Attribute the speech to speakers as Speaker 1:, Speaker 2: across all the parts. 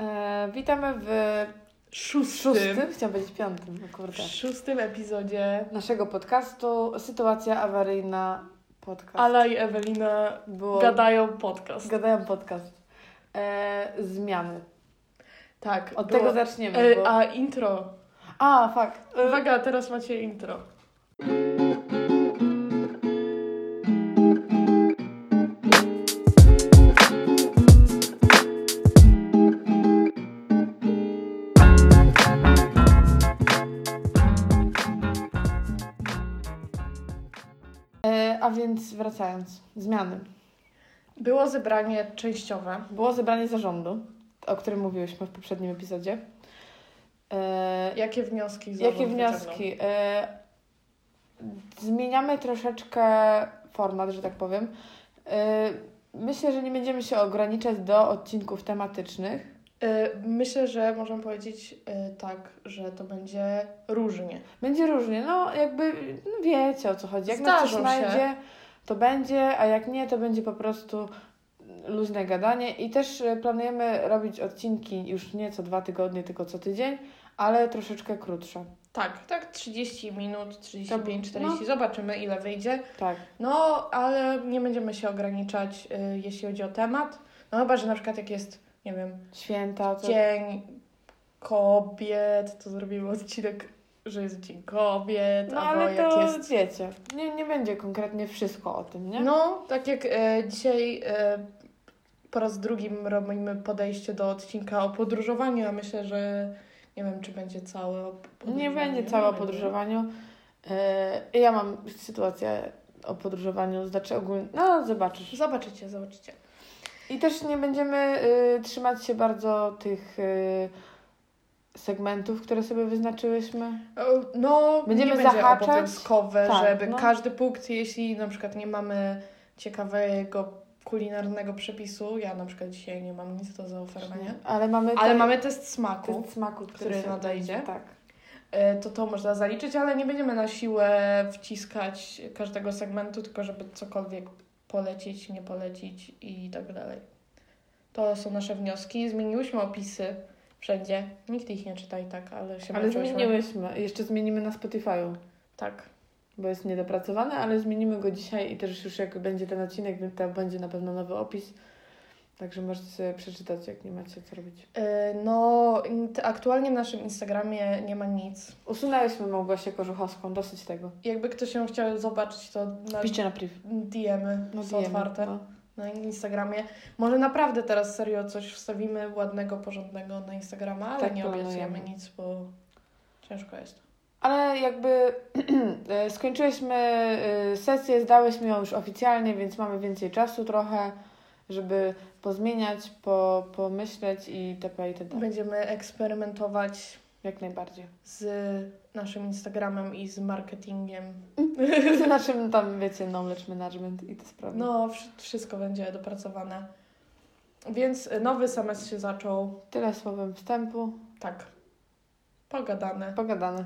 Speaker 1: E, witamy w
Speaker 2: szóstym, Tak.
Speaker 1: szóstym, chciałam powiedzieć piątym, no
Speaker 2: w
Speaker 1: kurde,
Speaker 2: szóstym epizodzie
Speaker 1: naszego podcastu Sytuacja awaryjna podcast.
Speaker 2: Ala i Ewelina
Speaker 1: było
Speaker 2: gadają podcast.
Speaker 1: gadają podcast. E, zmiany.
Speaker 2: tak.
Speaker 1: Od
Speaker 2: było-
Speaker 1: tego zaczniemy.
Speaker 2: E,
Speaker 1: bo...
Speaker 2: A intro.
Speaker 1: A, fakt. E,
Speaker 2: Uwaga, teraz macie intro.
Speaker 1: E, a więc wracając, zmiany.
Speaker 2: Było zebranie częściowe.
Speaker 1: Było zebranie zarządu, o którym mówiłyśmy w poprzednim epizodzie. E,
Speaker 2: Jakie wnioski zarząd
Speaker 1: Jakie
Speaker 2: wyciągnął?
Speaker 1: wnioski? E, Zmieniamy troszeczkę format, że tak powiem. E, Myślę, że nie będziemy się ograniczać do odcinków tematycznych.
Speaker 2: E, Myślę, że możemy powiedzieć e, tak, że to będzie różnie.
Speaker 1: Będzie różnie, no jakby no wiecie o co chodzi. Jak nas
Speaker 2: Zdarzą
Speaker 1: coś
Speaker 2: się.
Speaker 1: znajdzie, to będzie, a jak nie, to będzie po prostu luźne gadanie. I też e, planujemy robić odcinki już nie co dwa tygodnie, tylko co tydzień, ale troszeczkę krótsze.
Speaker 2: Tak, tak 30 minut, 35,
Speaker 1: To-
Speaker 2: 40, zobaczymy ile wyjdzie.
Speaker 1: Tak.
Speaker 2: No, ale nie będziemy się ograniczać, y, jeśli chodzi o temat. No chyba, że na przykład jak jest, nie wiem,
Speaker 1: Święta. To...
Speaker 2: Dzień Kobiet, to zrobimy odcinek, że jest Dzień Kobiet,
Speaker 1: No
Speaker 2: albo
Speaker 1: ale
Speaker 2: jak
Speaker 1: to
Speaker 2: jest...
Speaker 1: wiecie, nie, nie będzie konkretnie wszystko o tym, nie?
Speaker 2: No, tak jak y, dzisiaj y, po raz drugim robimy podejście do odcinka o podróżowaniu, a myślę, że nie wiem, czy będzie całe o podróżowaniu.
Speaker 1: nie będzie cała o
Speaker 2: będzie.
Speaker 1: podróżowaniu. Yy, ja mam sytuację o podróżowaniu, znaczy ogólnie, no zobaczysz.
Speaker 2: Zobaczycie, zobaczycie.
Speaker 1: I też nie będziemy yy, trzymać się bardzo tych yy, segmentów, które sobie wyznaczyłyśmy.
Speaker 2: E, No,
Speaker 1: Będziemy
Speaker 2: nie będzie
Speaker 1: zahaczać?
Speaker 2: obowiązkowe,
Speaker 1: Tak,
Speaker 2: żeby
Speaker 1: no.
Speaker 2: każdy punkt, jeśli na przykład nie mamy ciekawego kulinarnego przepisu, ja na przykład dzisiaj nie mam nic do zaoferowania,
Speaker 1: Ale mamy
Speaker 2: ale
Speaker 1: ten
Speaker 2: mamy test smaku,
Speaker 1: Tak. test smaku, który,
Speaker 2: który
Speaker 1: się-
Speaker 2: nadejdzie.
Speaker 1: Tak.
Speaker 2: E, to to można zaliczyć, ale nie będziemy na siłę wciskać każdego segmentu, tylko żeby cokolwiek polecić, nie polecić i tak dalej. To są nasze wnioski. Zmieniłyśmy opisy wszędzie. Nikt ich nie czyta i tak, ale się
Speaker 1: Ale
Speaker 2: męczyłyśmy.
Speaker 1: zmieniłyśmy. Jeszcze zmienimy na Spotify'u,
Speaker 2: Tak.
Speaker 1: bo jest niedopracowany, ale zmienimy go dzisiaj i też już jak będzie ten odcinek, to będzie na pewno nowy opis. Także możecie sobie przeczytać, jak nie macie co robić.
Speaker 2: Y, No, in- t- aktualnie na naszym Instagramie nie ma nic.
Speaker 1: Usunęłyśmy Małgosię Korzuchowską, dosyć tego.
Speaker 2: Jakby ktoś ją chciał zobaczyć, to na
Speaker 1: Piszcie na priv.
Speaker 2: DM-y
Speaker 1: No,
Speaker 2: Tak. są
Speaker 1: DM,
Speaker 2: otwarte
Speaker 1: No.
Speaker 2: na Instagramie. Może naprawdę teraz serio coś wstawimy ładnego, porządnego na Instagrama, ale
Speaker 1: Tak
Speaker 2: nie obiecujemy
Speaker 1: planujemy.
Speaker 2: nic, bo ciężko jest.
Speaker 1: Ale jakby e, skończyłyśmy e, sesję, zdałyśmy ją już oficjalnie, więc mamy więcej czasu trochę, żeby pozmieniać, po, pomyśleć i tp itd.
Speaker 2: Będziemy eksperymentować
Speaker 1: Jak najbardziej.
Speaker 2: z naszym Instagramem i z marketingiem.
Speaker 1: Z naszym Znaczy, tam, wiecie, no, knowledge management i te sprawy.
Speaker 2: No, wsz- wszystko będzie dopracowane. Więc y, nowy semestr się zaczął.
Speaker 1: Tyle słowem wstępu.
Speaker 2: Tak. Pogadane.
Speaker 1: Pogadane.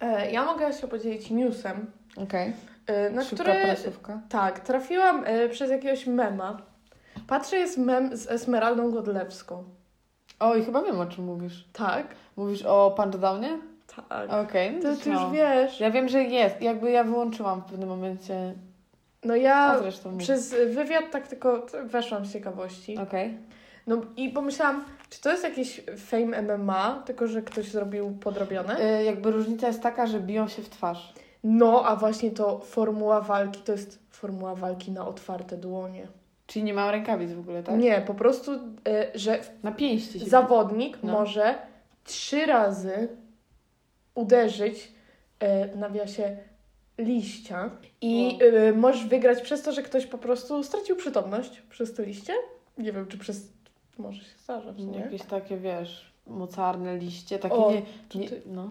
Speaker 2: E, Ja mogę się podzielić newsem,
Speaker 1: Okej.
Speaker 2: e, na
Speaker 1: Szybka
Speaker 2: który
Speaker 1: prasówka.
Speaker 2: tak, trafiłam e, przez jakiegoś mema. Patrzę, jest mem z Esmeraldą Godlewską.
Speaker 1: Oj, chyba wiem, o czym mówisz.
Speaker 2: Tak?
Speaker 1: Mówisz o Punchdownie?
Speaker 2: Tak.
Speaker 1: Okej. no
Speaker 2: to ty już
Speaker 1: śmiało.
Speaker 2: wiesz.
Speaker 1: Ja wiem, że jest. Jakby ja wyłączyłam w pewnym momencie.
Speaker 2: No
Speaker 1: A
Speaker 2: ja
Speaker 1: zresztą mówię.
Speaker 2: przez wywiad tak tylko t- weszłam z ciekawości.
Speaker 1: Okej.
Speaker 2: No i pomyślałam, czy to jest jakiś fame MMA, tylko że ktoś zrobił podrobione?
Speaker 1: Y, Jakby różnica jest taka, że biją się w twarz.
Speaker 2: No, a właśnie to formuła walki, to jest formuła walki na otwarte dłonie.
Speaker 1: Czyli nie mają rękawic w ogóle, tak?
Speaker 2: Nie, po prostu, e, że
Speaker 1: Na pięści się.
Speaker 2: zawodnik
Speaker 1: No.
Speaker 2: może trzy razy uderzyć e, w nawiasie liścia i e, możesz wygrać przez to, że ktoś po prostu stracił przytomność przez to liście. Nie wiem, czy przez... Może się zdarzać,
Speaker 1: bije.
Speaker 2: nie?
Speaker 1: Jakieś takie, wiesz, mocarne liście, takie
Speaker 2: O,
Speaker 1: nie, nie...
Speaker 2: ty-
Speaker 1: No.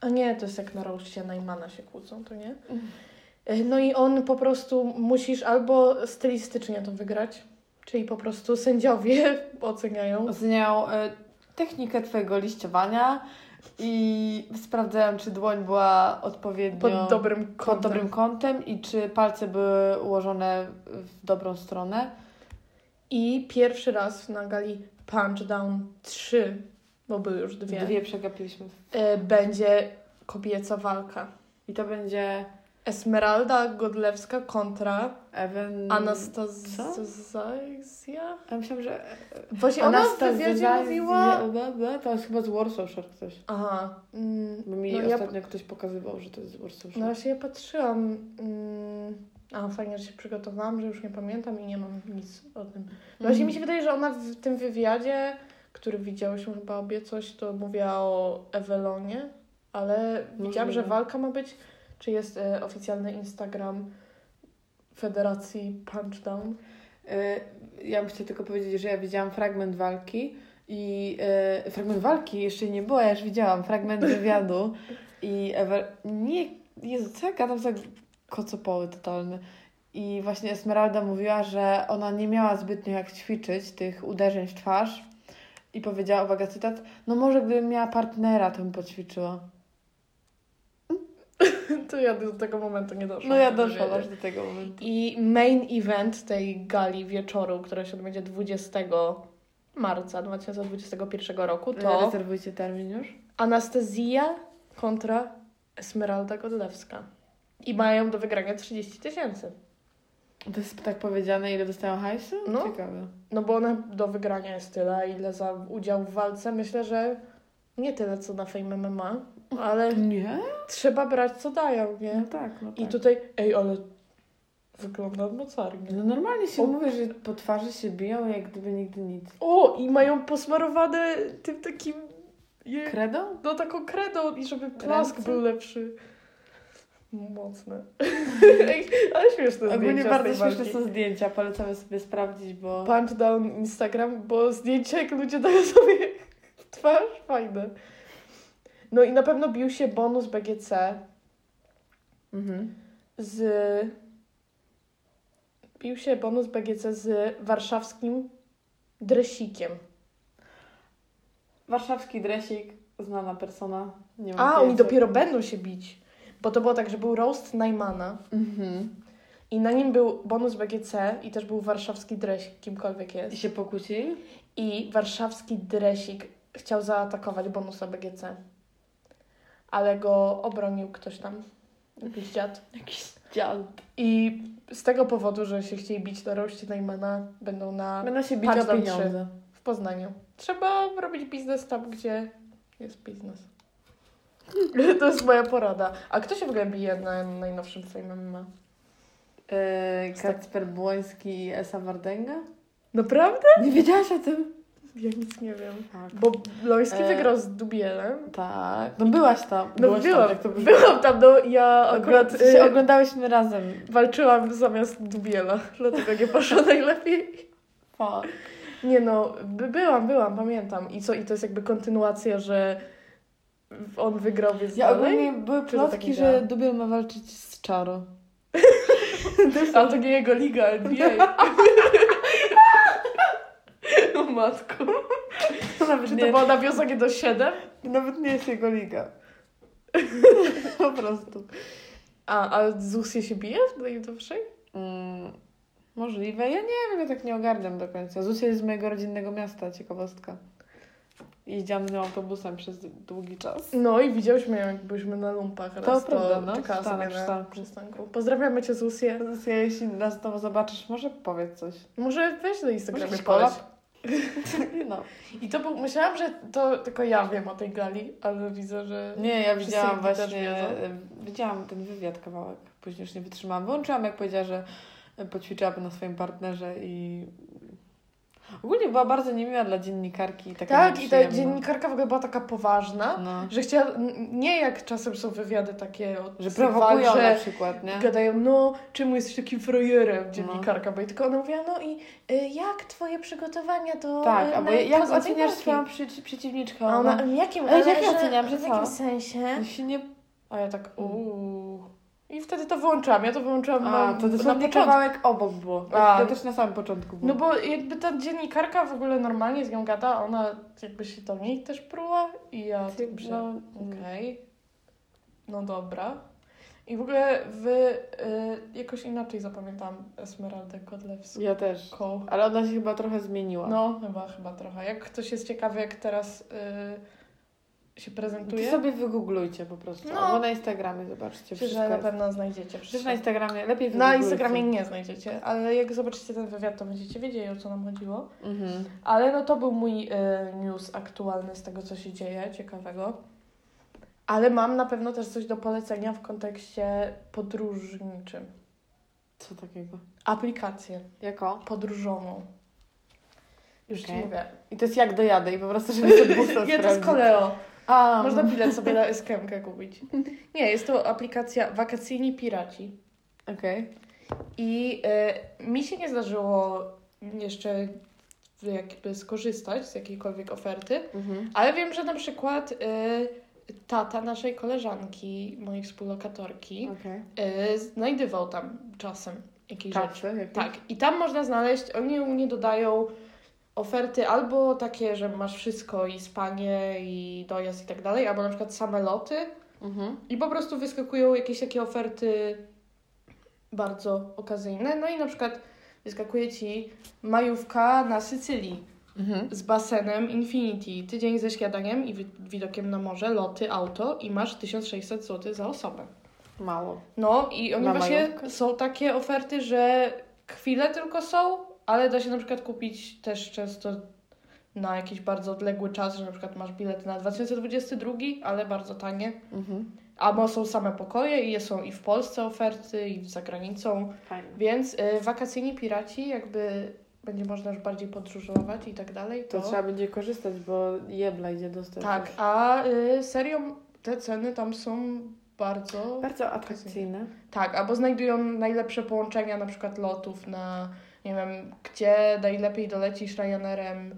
Speaker 2: A nie, to jest jak na roście Najmana się kłócą, to nie?
Speaker 1: Mm.
Speaker 2: E, No i on po prostu musisz albo stylistycznie to wygrać, czyli po prostu sędziowie oceniają.
Speaker 1: Oceniał y, technikę twojego liściowania i sprawdzają, czy dłoń była odpowiednio...
Speaker 2: Pod dobrym kątem.
Speaker 1: pod dobrym kątem i czy palce były ułożone w dobrą stronę.
Speaker 2: I pierwszy raz na gali Punchdown 3, bo były już dwie,
Speaker 1: Dwie przegapiliśmy.
Speaker 2: E, będzie kobieca walka.
Speaker 1: I to będzie
Speaker 2: Esmeralda Godlewska kontra
Speaker 1: Ewen... co?
Speaker 2: Anastazja?
Speaker 1: Ja myślałam, że
Speaker 2: Właśnie ona w wywiadzie mówiła...
Speaker 1: Anastazja- To jest chyba z Warsaw Shore ktoś.
Speaker 2: Aha. Mm,
Speaker 1: Bo mi
Speaker 2: no ja,
Speaker 1: ostatnio ktoś pokazywał, że to jest z Warsaw
Speaker 2: no
Speaker 1: Shore.
Speaker 2: właśnie ja patrzyłam. Mm, a fajnie, że się przygotowałam, że już nie pamiętam i nie mam nic o tym. No Właśnie mi się wydaje, że ona w tym wywiadzie, który widziałyśmy chyba obie coś, to mówiła o Ewelonie, ale widziałam, że walka ma być, czy jest e, oficjalny Instagram Federacji Punchdown.
Speaker 1: Y, Ja bym chciała tylko powiedzieć, że ja widziałam fragment walki i y, fragment walki jeszcze nie było, ja już widziałam fragment wywiadu i Ewer... Nie, Jezu, co ja gadam za kocopoły totalne. I właśnie Esmeralda mówiła, że ona nie miała zbytnio jak ćwiczyć tych uderzeń w twarz i powiedziała, uwaga, cytat, no może gdybym miała partnera, to bym poćwiczyła.
Speaker 2: To ja do tego momentu nie doszłam.
Speaker 1: No ja
Speaker 2: żeby
Speaker 1: doszłam
Speaker 2: wiedzieć.
Speaker 1: aż do tego momentu.
Speaker 2: I main event tej gali wieczoru, która się odbędzie 20 marca 2021 roku,
Speaker 1: To...
Speaker 2: to
Speaker 1: Rezerwujcie termin już.
Speaker 2: Anastazja kontra Esmeralda Godlewska. I mają do wygrania 30 tysięcy.
Speaker 1: To jest tak powiedziane, ile dostają hajsu?
Speaker 2: No.
Speaker 1: Ciekawe.
Speaker 2: No bo ona do wygrania jest tyle, ile za udział w walce. Myślę, że nie tyle, co na Fame MMA, ale
Speaker 1: Nie?
Speaker 2: trzeba brać, co dają, nie?
Speaker 1: No tak, no tak.
Speaker 2: I tutaj, ej, ale wygląda mocarnie.
Speaker 1: No normalnie się
Speaker 2: O.
Speaker 1: mówi, że po twarzy się biją, jak gdyby nigdy nic.
Speaker 2: O, i mają posmarowane tym takim... Je...
Speaker 1: Kredą?
Speaker 2: No taką kredą i żeby plask
Speaker 1: Ręce?
Speaker 2: był lepszy. Mocne. Ej, ale śmieszne
Speaker 1: Ogólnie
Speaker 2: zdjęcia z
Speaker 1: bardzo
Speaker 2: tej
Speaker 1: śmieszne
Speaker 2: walki.
Speaker 1: są zdjęcia, polecamy sobie sprawdzić, bo...
Speaker 2: Punchdown Instagram, bo zdjęcia jak ludzie dają sobie w twarz, fajne. No i na pewno bił się bonus BGC
Speaker 1: Mhm.
Speaker 2: z... Bił się bonus BGC z warszawskim dresikiem.
Speaker 1: Warszawski dresik, znana persona. Nie mam
Speaker 2: A,
Speaker 1: pojęcia.
Speaker 2: oni dopiero będą się bić. Bo to było tak, że był roast Najmana
Speaker 1: Mhm.
Speaker 2: i na nim był bonus BGC i też był warszawski dresik, kimkolwiek jest.
Speaker 1: I się pokłócili?
Speaker 2: I warszawski dresik chciał zaatakować bonusa BGC. Ale go obronił ktoś tam. Jakiś dziad.
Speaker 1: Jakiś dziad.
Speaker 2: I z tego powodu, że się chcieli bić na roście Najmana, będą na...
Speaker 1: Będą się bić
Speaker 2: Patrz
Speaker 1: o
Speaker 2: tam
Speaker 1: pieniądze.
Speaker 2: w Poznaniu. Trzeba robić biznes tam, gdzie jest biznes. to jest moja porada. A kto się w ogóle bije na najnowszym Fame MMA?
Speaker 1: Yy, Kacper Błoński i Esa Wardęga?
Speaker 2: Naprawdę?
Speaker 1: Tak. Nie wiedziałaś o tym?
Speaker 2: Ja nic nie wiem.
Speaker 1: Tak.
Speaker 2: Bo Loński
Speaker 1: E,
Speaker 2: wygrał z Dubielem.
Speaker 1: Tak. No byłaś tam.
Speaker 2: No
Speaker 1: byłaś
Speaker 2: byłam,
Speaker 1: tam, jak to było.
Speaker 2: byłam tam, no ja akurat...
Speaker 1: Akurat się
Speaker 2: y,
Speaker 1: oglądałyśmy razem.
Speaker 2: Walczyłam zamiast Dubiela, dlatego nie poszło najlepiej.
Speaker 1: Pa.
Speaker 2: Nie no, by, byłam, byłam, pamiętam. I co, i to jest jakby kontynuacja, że on wygrał, więc
Speaker 1: Ja
Speaker 2: dalej?
Speaker 1: ogólnie były
Speaker 2: Czy to tak
Speaker 1: plotki,
Speaker 2: działa?
Speaker 1: że Dubiel ma walczyć z Czaro.
Speaker 2: A to nie jego liga, NBA. o matko.
Speaker 1: To nawet,
Speaker 2: Czy
Speaker 1: nie,
Speaker 2: Znaczy, to było nawiązanie do 7?
Speaker 1: nawet nie jest jego liga. po prostu.
Speaker 2: A, a Zusie się bije w najnowszej?
Speaker 1: Mm, możliwe. Ja nie wiem, ja tak nie ogarniam do końca. Zusia jest z mojego rodzinnego miasta, ciekawostka. Jeździłam z nią autobusem przez długi czas.
Speaker 2: No i widziałyśmy ją, jak byliśmy na lumpach raz.
Speaker 1: prawda, no,
Speaker 2: Czekała
Speaker 1: stała
Speaker 2: sobie
Speaker 1: na
Speaker 2: na
Speaker 1: przystanku.
Speaker 2: przystanku. Pozdrawiamy Cię, Zusie.
Speaker 1: Zusia, jeśli nas znowu zobaczysz, może powiedz coś.
Speaker 2: Może weź do Instagrama
Speaker 1: jakiś
Speaker 2: poleć.
Speaker 1: kolab? No.
Speaker 2: I to był, myślałam, że to tylko ja wiem o tej gali, ale widzę, że...
Speaker 1: Nie, ja
Speaker 2: Wszyscy
Speaker 1: widziałam
Speaker 2: inni też
Speaker 1: właśnie,
Speaker 2: wiedzą.
Speaker 1: y, widziałam ten wywiad kawałek, później już nie wytrzymałam. Wyłączyłam, jak powiedziała, że y, poćwiczyłaby na swoim partnerze i... Ogólnie była bardzo niemiła dla dziennikarki. i Taka
Speaker 2: tak, i ta
Speaker 1: nieprzyjemna.
Speaker 2: dziennikarka w ogóle była taka poważna,
Speaker 1: No.
Speaker 2: że chciała, n- nie jak czasem są wywiady takie od
Speaker 1: Że
Speaker 2: tych
Speaker 1: prowokują
Speaker 2: walk,
Speaker 1: na
Speaker 2: że
Speaker 1: przykład, nie? No.
Speaker 2: gadają, no czemu jesteś takim frajerem, dziennikarka, bo i tylko ona mówiła, no i y, jak twoje przygotowania do
Speaker 1: Tak,
Speaker 2: y,
Speaker 1: albo
Speaker 2: na-
Speaker 1: jak
Speaker 2: poza tej
Speaker 1: oceniasz
Speaker 2: walki?
Speaker 1: swoją przy, przeciwniczkę?
Speaker 2: A ona, jakim,
Speaker 1: Ej,
Speaker 2: ale
Speaker 1: jak ja oceniam, że
Speaker 2: w
Speaker 1: co?
Speaker 2: jakim sensie?
Speaker 1: No się nie...
Speaker 2: A ja tak, uuu. I wtedy to wyłączyłam, ja to wyłączyłam
Speaker 1: A,
Speaker 2: na,
Speaker 1: to
Speaker 2: na
Speaker 1: dosłownie
Speaker 2: początku.
Speaker 1: kawałek obok było.
Speaker 2: A.
Speaker 1: To też na samym początku było.
Speaker 2: No bo jakby ta dziennikarka w ogóle normalnie z nią gada, ona jakby się do niej też pruła i ja tak,
Speaker 1: Ty-
Speaker 2: dobrze,
Speaker 1: no,
Speaker 2: okej, no dobra. I w ogóle wy y, jakoś inaczej zapamiętałam Esmeraldę Godlewską.
Speaker 1: Ja też. Ale ona się chyba trochę zmieniła.
Speaker 2: No, chyba, chyba trochę. Jak ktoś jest ciekawy, jak teraz y, się
Speaker 1: to
Speaker 2: prezentuje,
Speaker 1: sobie wygooglujcie po prostu.
Speaker 2: No.
Speaker 1: Albo na Instagramie zobaczcie.
Speaker 2: myślę,
Speaker 1: Wszystko
Speaker 2: że na
Speaker 1: jest.
Speaker 2: pewno znajdziecie
Speaker 1: Przecież
Speaker 2: wszystko.
Speaker 1: na Instagramie lepiej
Speaker 2: Na
Speaker 1: wygooglujcie.
Speaker 2: Instagramie nie znajdziecie, ale jak zobaczycie ten wywiad, to będziecie wiedzieli, o co nam chodziło.
Speaker 1: Mhm.
Speaker 2: Ale no to był mój y, news aktualny z tego, co się dzieje, ciekawego. Ale mam na pewno też coś do polecenia w kontekście podróżniczym.
Speaker 1: Co takiego?
Speaker 2: Aplikację
Speaker 1: Jako?
Speaker 2: podróżową. Już
Speaker 1: Okej.
Speaker 2: ci mówię.
Speaker 1: I to jest jak dojadę i po prostu, żeby sobie busa
Speaker 2: Ja to z
Speaker 1: sprawdzić.
Speaker 2: koleo.
Speaker 1: A,
Speaker 2: Można bilet sobie na SKM-kę kupić. Nie, jest to aplikacja Wakacyjni Piraci.
Speaker 1: mhm. Okej.
Speaker 2: I y, mi się nie zdarzyło jeszcze jakby skorzystać z jakiejkolwiek oferty,
Speaker 1: Mhm.
Speaker 2: ale wiem, że na przykład y, tata naszej koleżanki, mojej współlokatorki,
Speaker 1: Okej.
Speaker 2: y, znajdywał tam czasem jakieś rzeczy.
Speaker 1: Kasy jakieś?
Speaker 2: Tak, i tam można znaleźć, oni u mnie dodają oferty albo takie, że masz wszystko i spanie, i dojazd i tak dalej, albo na przykład same loty.
Speaker 1: Mhm.
Speaker 2: I po prostu wyskakują jakieś takie oferty bardzo okazyjne. No i na przykład wyskakuje ci majówka na Sycylii
Speaker 1: Mhm.
Speaker 2: z basenem Infinity, tydzień ze śniadaniem i wi- widokiem na morze, loty, auto i masz 1600 zł za osobę.
Speaker 1: Mało.
Speaker 2: No i oni
Speaker 1: Na
Speaker 2: właśnie
Speaker 1: majówkę?
Speaker 2: są takie oferty, że chwile tylko są, ale da się na przykład kupić też często na jakiś bardzo odległy czas, że na przykład masz bilet na 2022, ale bardzo tanie.
Speaker 1: Mhm.
Speaker 2: Albo są same pokoje i są i w Polsce oferty, i za granicą.
Speaker 1: Fajnie.
Speaker 2: Więc y, wakacyjni piraci jakby będzie można już bardziej podróżować i tak dalej.
Speaker 1: To
Speaker 2: To,
Speaker 1: trzeba będzie korzystać, bo jebla idzie dostęp.
Speaker 2: Tak, a y, serio te ceny tam są bardzo...
Speaker 1: Bardzo atrakcyjne.
Speaker 2: Tak, albo znajdują najlepsze połączenia na przykład lotów na, nie wiem, gdzie najlepiej dolecisz Ryanerem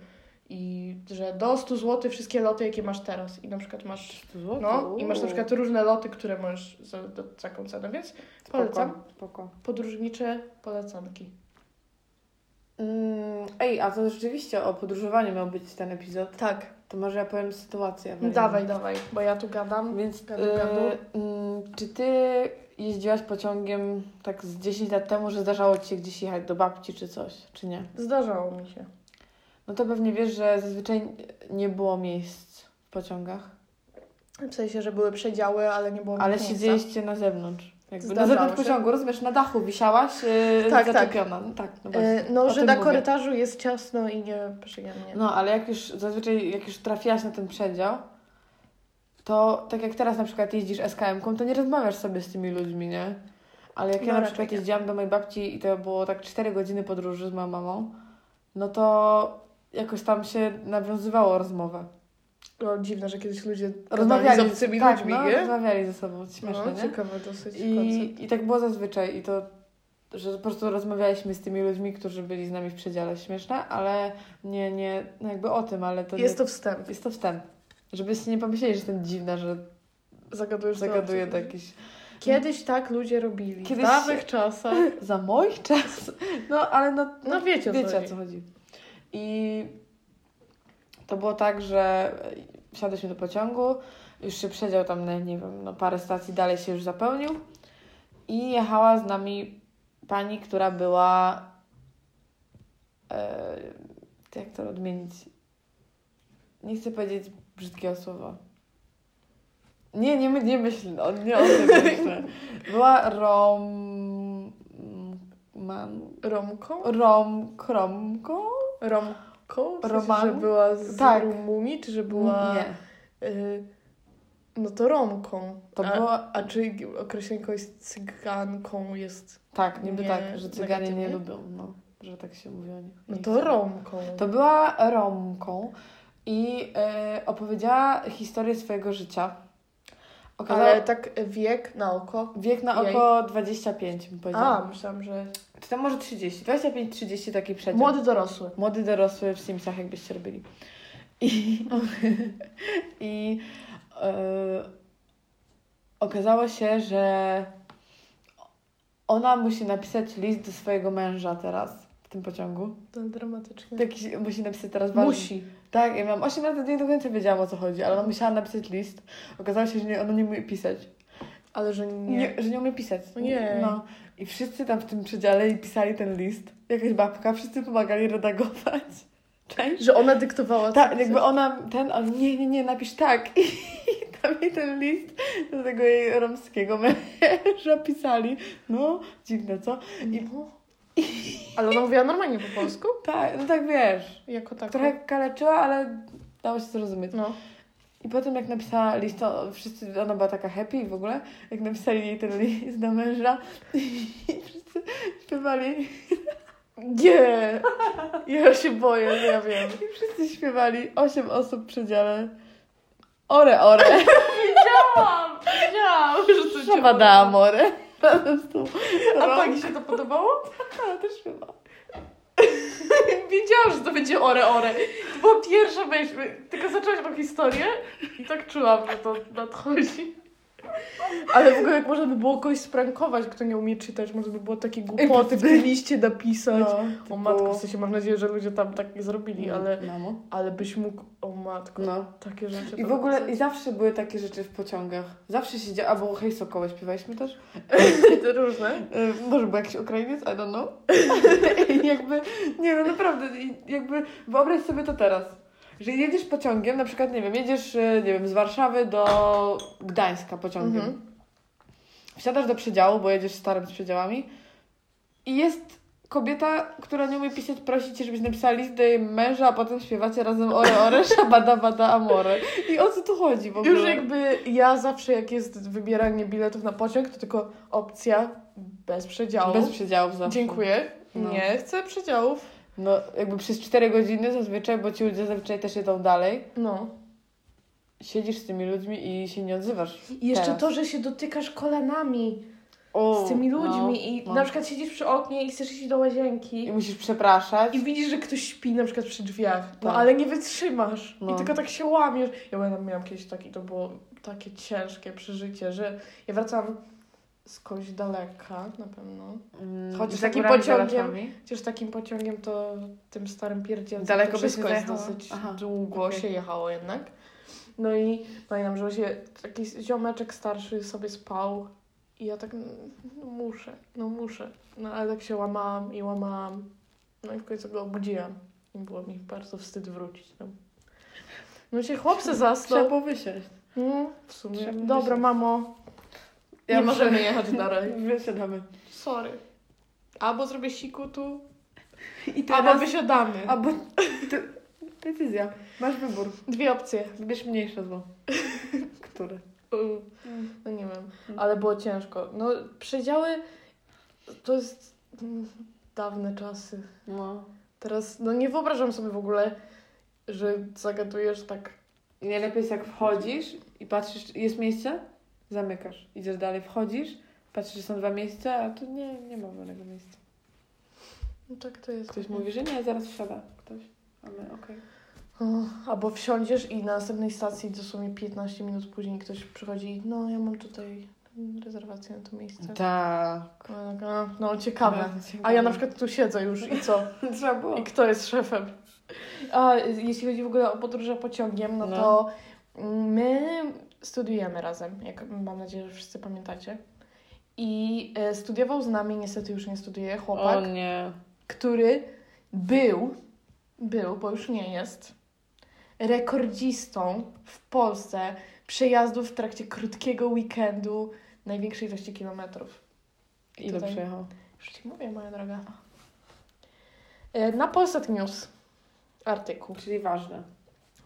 Speaker 2: i że do 100 zł wszystkie loty, jakie masz teraz. I na przykład masz
Speaker 1: 300 zł.
Speaker 2: No, i masz na przykład różne loty, które możesz za, za taką cenę, więc polecam.
Speaker 1: Spoko. Spoko.
Speaker 2: Podróżnicze polecanki.
Speaker 1: Mm, ej, a to rzeczywiście o podróżowaniu miał być ten epizod.
Speaker 2: Tak.
Speaker 1: To może ja powiem sytuację.
Speaker 2: No,
Speaker 1: awaryjną.
Speaker 2: dawaj, dawaj, bo ja tu gadam.
Speaker 1: Więc
Speaker 2: Gadu,
Speaker 1: e,
Speaker 2: gadu.
Speaker 1: mm, czy ty jeździłaś pociągiem tak z 10 lat temu, że zdarzało ci się gdzieś jechać do babci czy coś, czy nie?
Speaker 2: Zdarzało mi się.
Speaker 1: No to pewnie wiesz, że zazwyczaj nie było miejsc w pociągach,
Speaker 2: W sensie, że były przedziały, ale nie było
Speaker 1: ale
Speaker 2: miejsca.
Speaker 1: siedzieliście na zewnątrz. Jakby na
Speaker 2: Zdarzało
Speaker 1: zewnątrz
Speaker 2: się.
Speaker 1: pociągu, rozumiesz, na dachu wisiałaś yy,
Speaker 2: Tak, tak.
Speaker 1: zaczepiona. No tak, no właśnie.
Speaker 2: E, No,
Speaker 1: O
Speaker 2: że
Speaker 1: tym
Speaker 2: na
Speaker 1: mówię.
Speaker 2: korytarzu jest ciasno i nie przyjemnie.
Speaker 1: No, ale jak już zazwyczaj, jak już trafiłaś na ten przedział, to tak jak teraz na przykład jeździsz SKM-ką, to nie rozmawiasz sobie z tymi ludźmi, nie? Ale jak
Speaker 2: No,
Speaker 1: ja na
Speaker 2: raczej
Speaker 1: przykład
Speaker 2: nie.
Speaker 1: jeździłam do mojej babci i to było tak 4 godziny podróży z moją mamą, no to jakoś tam się nawiązywało rozmowę.
Speaker 2: No, dziwne, że kiedyś ludzie rozmawiali z
Speaker 1: Rozmawiali
Speaker 2: obcymi
Speaker 1: tak,
Speaker 2: ludźmi,
Speaker 1: no,
Speaker 2: nie?
Speaker 1: rozmawiali ze sobą, śmieszne,
Speaker 2: No,
Speaker 1: nie?
Speaker 2: ciekawe dosyć koncept.
Speaker 1: I, I tak było zazwyczaj i to, że po prostu rozmawialiśmy z tymi ludźmi, którzy byli z nami w przedziale, śmieszne, ale nie, nie, no jakby o tym, ale to nie,
Speaker 2: Jest to wstęp.
Speaker 1: jest to wstęp. Żebyście nie pomyśleli, że jestem dziwna, że
Speaker 2: Zagadujesz do
Speaker 1: zagaduję do
Speaker 2: obcych ludzi.
Speaker 1: jakichś...
Speaker 2: Kiedyś tak ludzie robili.
Speaker 1: Kiedyś
Speaker 2: W dawnych czasach.
Speaker 1: Za moich czas? No, ale no...
Speaker 2: No wiecie, o co
Speaker 1: Wiecie o
Speaker 2: chodzi.
Speaker 1: co chodzi. I to było tak, że wsiadliśmy do pociągu, już się przedział tam, na, nie wiem, no parę stacji dalej się już zapełnił i jechała z nami pani, która była e, jak to odmienić? Nie chcę powiedzieć brzydkiego słowa. Nie, nie, my- nie myśl, o, nie o tym myślę. Była rom... Man,
Speaker 2: Romką?
Speaker 1: Rom, kromką?
Speaker 2: Romką? W sensie,
Speaker 1: Romanką?
Speaker 2: że była z
Speaker 1: Tak.
Speaker 2: Rumunii, czy że była...
Speaker 1: Nie.
Speaker 2: Y, no to Romką.
Speaker 1: To
Speaker 2: a,
Speaker 1: była-
Speaker 2: a czy określenie kogoś z cyganką jest...
Speaker 1: Tak, niby
Speaker 2: Nie,
Speaker 1: tak, że cyganie nie
Speaker 2: negatywnie?
Speaker 1: lubią, no, że tak się mówi o nich.
Speaker 2: No
Speaker 1: Nie
Speaker 2: to
Speaker 1: chcę.
Speaker 2: Romką.
Speaker 1: To była Romką i e, opowiedziała historię swojego życia. Okazało,
Speaker 2: Ale tak wiek na oko.
Speaker 1: wiek na
Speaker 2: jej.
Speaker 1: około 25, bym powiedziała.
Speaker 2: A, myślałam, że...
Speaker 1: Czy to może 30? 25-30 taki przedział.
Speaker 2: Młody dorosły.
Speaker 1: Młody dorosły w Simsach, jakbyście robili. I, i e, okazało się, że ona musi napisać list do swojego męża teraz w tym pociągu.
Speaker 2: To dramatycznie.
Speaker 1: Jakiś, musi napisać teraz ważny.
Speaker 2: Tak. Musi.
Speaker 1: Tak, ja miałam 8 lat, to nie do końca wiedziałam o co chodzi, ale ona musiała napisać list. Okazało się, że nie, ona nie umie pisać.
Speaker 2: Ale że nie.
Speaker 1: Nie, że nie umie pisać.
Speaker 2: Ojej.
Speaker 1: No. I wszyscy tam w tym przedziale i pisali ten list. Jakaś babka, wszyscy pomagali redagować. Cześć.
Speaker 2: Że ona dyktowała.
Speaker 1: Ta,
Speaker 2: co-
Speaker 1: Tak, jakby ona, ten, on, nie, nie, nie, napisz tak. I tam jej ten list do tego jej romskiego męża pisali. No, dziwne, co? I
Speaker 2: No. Ale ona mówiła normalnie po polsku?
Speaker 1: tak, no tak wiesz.
Speaker 2: Jako tak.
Speaker 1: Trochę kaleczyła, ale dało się zrozumieć.
Speaker 2: No.
Speaker 1: I potem jak napisała list, to wszyscy, ona była taka happy w ogóle, jak napisali jej ten list do męża i wszyscy śpiewali,
Speaker 2: Nie! Ja się boję, że ja wiem.
Speaker 1: i wszyscy śpiewali, osiem osób w przedziale, ore, ore,
Speaker 2: Wiedziałam! Wiedziałam, że to
Speaker 1: szabada amore, razem z tą
Speaker 2: A
Speaker 1: rąk.
Speaker 2: pani się to podobało?
Speaker 1: A, tak, też śpiewa.
Speaker 2: Wiedziałam, że to będzie ore ore. To była pierwsza myśl. Tylko zaczęłaś tą historię i tak czułam, że to nadchodzi. Ale w ogóle jak można by było kogoś sprankować, kto nie umie czytać, można by było takie głupoty w tym liście napisać.
Speaker 1: No, Mhm.
Speaker 2: O matko, w sensie mam nadzieję, że ludzie tam tak nie zrobili, ale,
Speaker 1: Mamo.
Speaker 2: ale byś mógł, o matko,
Speaker 1: No.
Speaker 2: takie rzeczy.
Speaker 1: I w ogóle, i zawsze były takie rzeczy w pociągach. Zawsze się dzieje, albo hej sokoły śpiewaliśmy też.
Speaker 2: te różne.
Speaker 1: Y, Może był jakiś Ukrainiec, I don't know. I jakby, nie no naprawdę, i jakby wyobraź sobie to teraz. Że jedziesz pociągiem, na przykład, nie wiem, jedziesz, y, nie wiem, z Warszawy do Gdańska pociągiem.
Speaker 2: Mhm.
Speaker 1: Wsiadasz do przedziału, bo jedziesz starym z przedziałami i jest kobieta, która nie umie pisać, prosi cię, żebyś napisała list do jej męża, a potem śpiewacie razem ore, ore, szabada, bada, amore. I o co tu chodzi w ogóle?
Speaker 2: Już jakby ja zawsze jak jest wybieranie biletów na pociąg, to tylko opcja bez przedziału.
Speaker 1: Bez przedziałów zawsze.
Speaker 2: Dziękuję.
Speaker 1: No.
Speaker 2: Nie chcę przedziałów.
Speaker 1: No, jakby przez 4 godziny zazwyczaj, bo ci ludzie zazwyczaj też jedą dalej.
Speaker 2: No.
Speaker 1: Siedzisz z tymi ludźmi i się nie odzywasz.
Speaker 2: I jeszcze
Speaker 1: Teraz.
Speaker 2: to, że się dotykasz kolanami
Speaker 1: O,
Speaker 2: z tymi
Speaker 1: no,
Speaker 2: ludźmi i
Speaker 1: no.
Speaker 2: na przykład siedzisz przy oknie i chcesz iść do łazienki
Speaker 1: I musisz przepraszać.
Speaker 2: i widzisz, że ktoś śpi na przykład przy drzwiach, no
Speaker 1: Tak.
Speaker 2: ale nie wytrzymasz
Speaker 1: No.
Speaker 2: i tylko tak się łamiesz. Ja pamiętam, miałam kiedyś taki, to było takie ciężkie przeżycie, że ja wracam skądś daleka na pewno.
Speaker 1: Mm,
Speaker 2: Chodzisz
Speaker 1: z
Speaker 2: takim
Speaker 1: górami,
Speaker 2: pociągiem.
Speaker 1: zarazami.
Speaker 2: Chociaż takim pociągiem to tym starym pierdzielcem
Speaker 1: Daleko
Speaker 2: to
Speaker 1: byś
Speaker 2: wszystko
Speaker 1: nie
Speaker 2: jest
Speaker 1: zajechała?
Speaker 2: dosyć
Speaker 1: Aha,
Speaker 2: długo
Speaker 1: okej.
Speaker 2: się jechało jednak. No i pamiętam, że właśnie taki ziomeczek starszy sobie spał i ja tak no, muszę, no muszę. No ale tak się łamałam i łamałam. No i w końcu go obudziłam. I było mi bardzo wstyd wrócić tam. No się chłopcy
Speaker 1: Trzeba
Speaker 2: zasnął.
Speaker 1: było wysiąść.
Speaker 2: No, w sumie.
Speaker 1: Trzeba
Speaker 2: Dobra,
Speaker 1: wysiąść.
Speaker 2: mamo. Nie
Speaker 1: Ja
Speaker 2: możemy jechać dalej.
Speaker 1: Wysiadamy.
Speaker 2: Sorry. Albo zrobię siku tu,
Speaker 1: I
Speaker 2: albo
Speaker 1: teraz...
Speaker 2: wysiadamy.
Speaker 1: Albo... to- Decyzja. Masz wybór.
Speaker 2: Dwie opcje.
Speaker 1: Wybierz mniejsze zło. Które?
Speaker 2: No nie wiem,
Speaker 1: Mm.
Speaker 2: ale było ciężko. No przedziały to jest mm, dawne czasy.
Speaker 1: No.
Speaker 2: Teraz no nie wyobrażam sobie w ogóle, że zagadujesz tak.
Speaker 1: I najlepiej jest jak wchodzisz i patrzysz, jest miejsce, zamykasz. Idziesz dalej, wchodzisz, patrzysz, że są dwa miejsca, a tu nie, nie ma wolnego miejsca.
Speaker 2: No tak to jest.
Speaker 1: Ktoś mówi, że nie, zaraz wsiada ktoś. A my, okej.
Speaker 2: O, albo wsiądziesz i na następnej stacji dosłownie 15 minut później ktoś przychodzi i no ja mam tutaj rezerwację na to miejsce.
Speaker 1: Tak.
Speaker 2: No, tak, a, no ciekawe. A ja na przykład tu siedzę już i co?
Speaker 1: Trzeba było.
Speaker 2: I kto jest szefem? A jeśli chodzi w ogóle o podróże pociągiem, no,
Speaker 1: No.
Speaker 2: to my studiujemy razem, jak mam nadzieję, że wszyscy pamiętacie. I e, studiował z nami, niestety już nie studiuje, chłopak,
Speaker 1: O nie.
Speaker 2: który był, był, bo już nie jest, rekordzistą w Polsce przejazdów w trakcie krótkiego weekendu największej ilości kilometrów.
Speaker 1: Ile
Speaker 2: Tutaj.
Speaker 1: przyjechał?
Speaker 2: Już ci mówię, moja droga. E, Na Polsat News artykuł.
Speaker 1: Czyli ważne.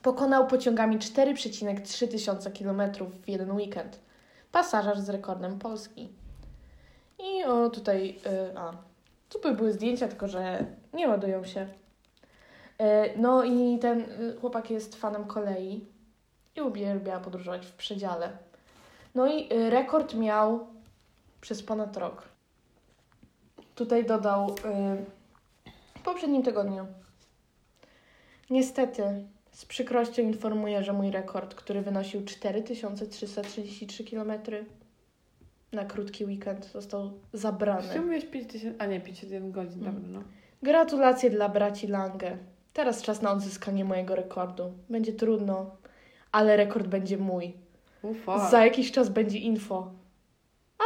Speaker 2: Pokonał pociągami 4,3 tysiąca kilometrów w jeden weekend. Pasażer z rekordem Polski. I o, tutaj... e, A, tu by były zdjęcia, tylko że nie ładują się. E, No i ten e, chłopak jest fanem kolei i uwielbia podróżować w przedziale. No i e, rekord miał przez ponad rok. Tutaj dodał e, w poprzednim tygodniu. Niestety, z przykrością informuję, że mój rekord, który wynosił 4333 km na krótki weekend, został zabrany.
Speaker 1: Chciałbyś 5000, a nie 51 godzin,
Speaker 2: Mm.
Speaker 1: dobra, no.
Speaker 2: Gratulacje dla braci Lange. Teraz czas na odzyskanie mojego rekordu. Będzie trudno, ale rekord będzie mój.
Speaker 1: Ufa.
Speaker 2: Za jakiś czas będzie info.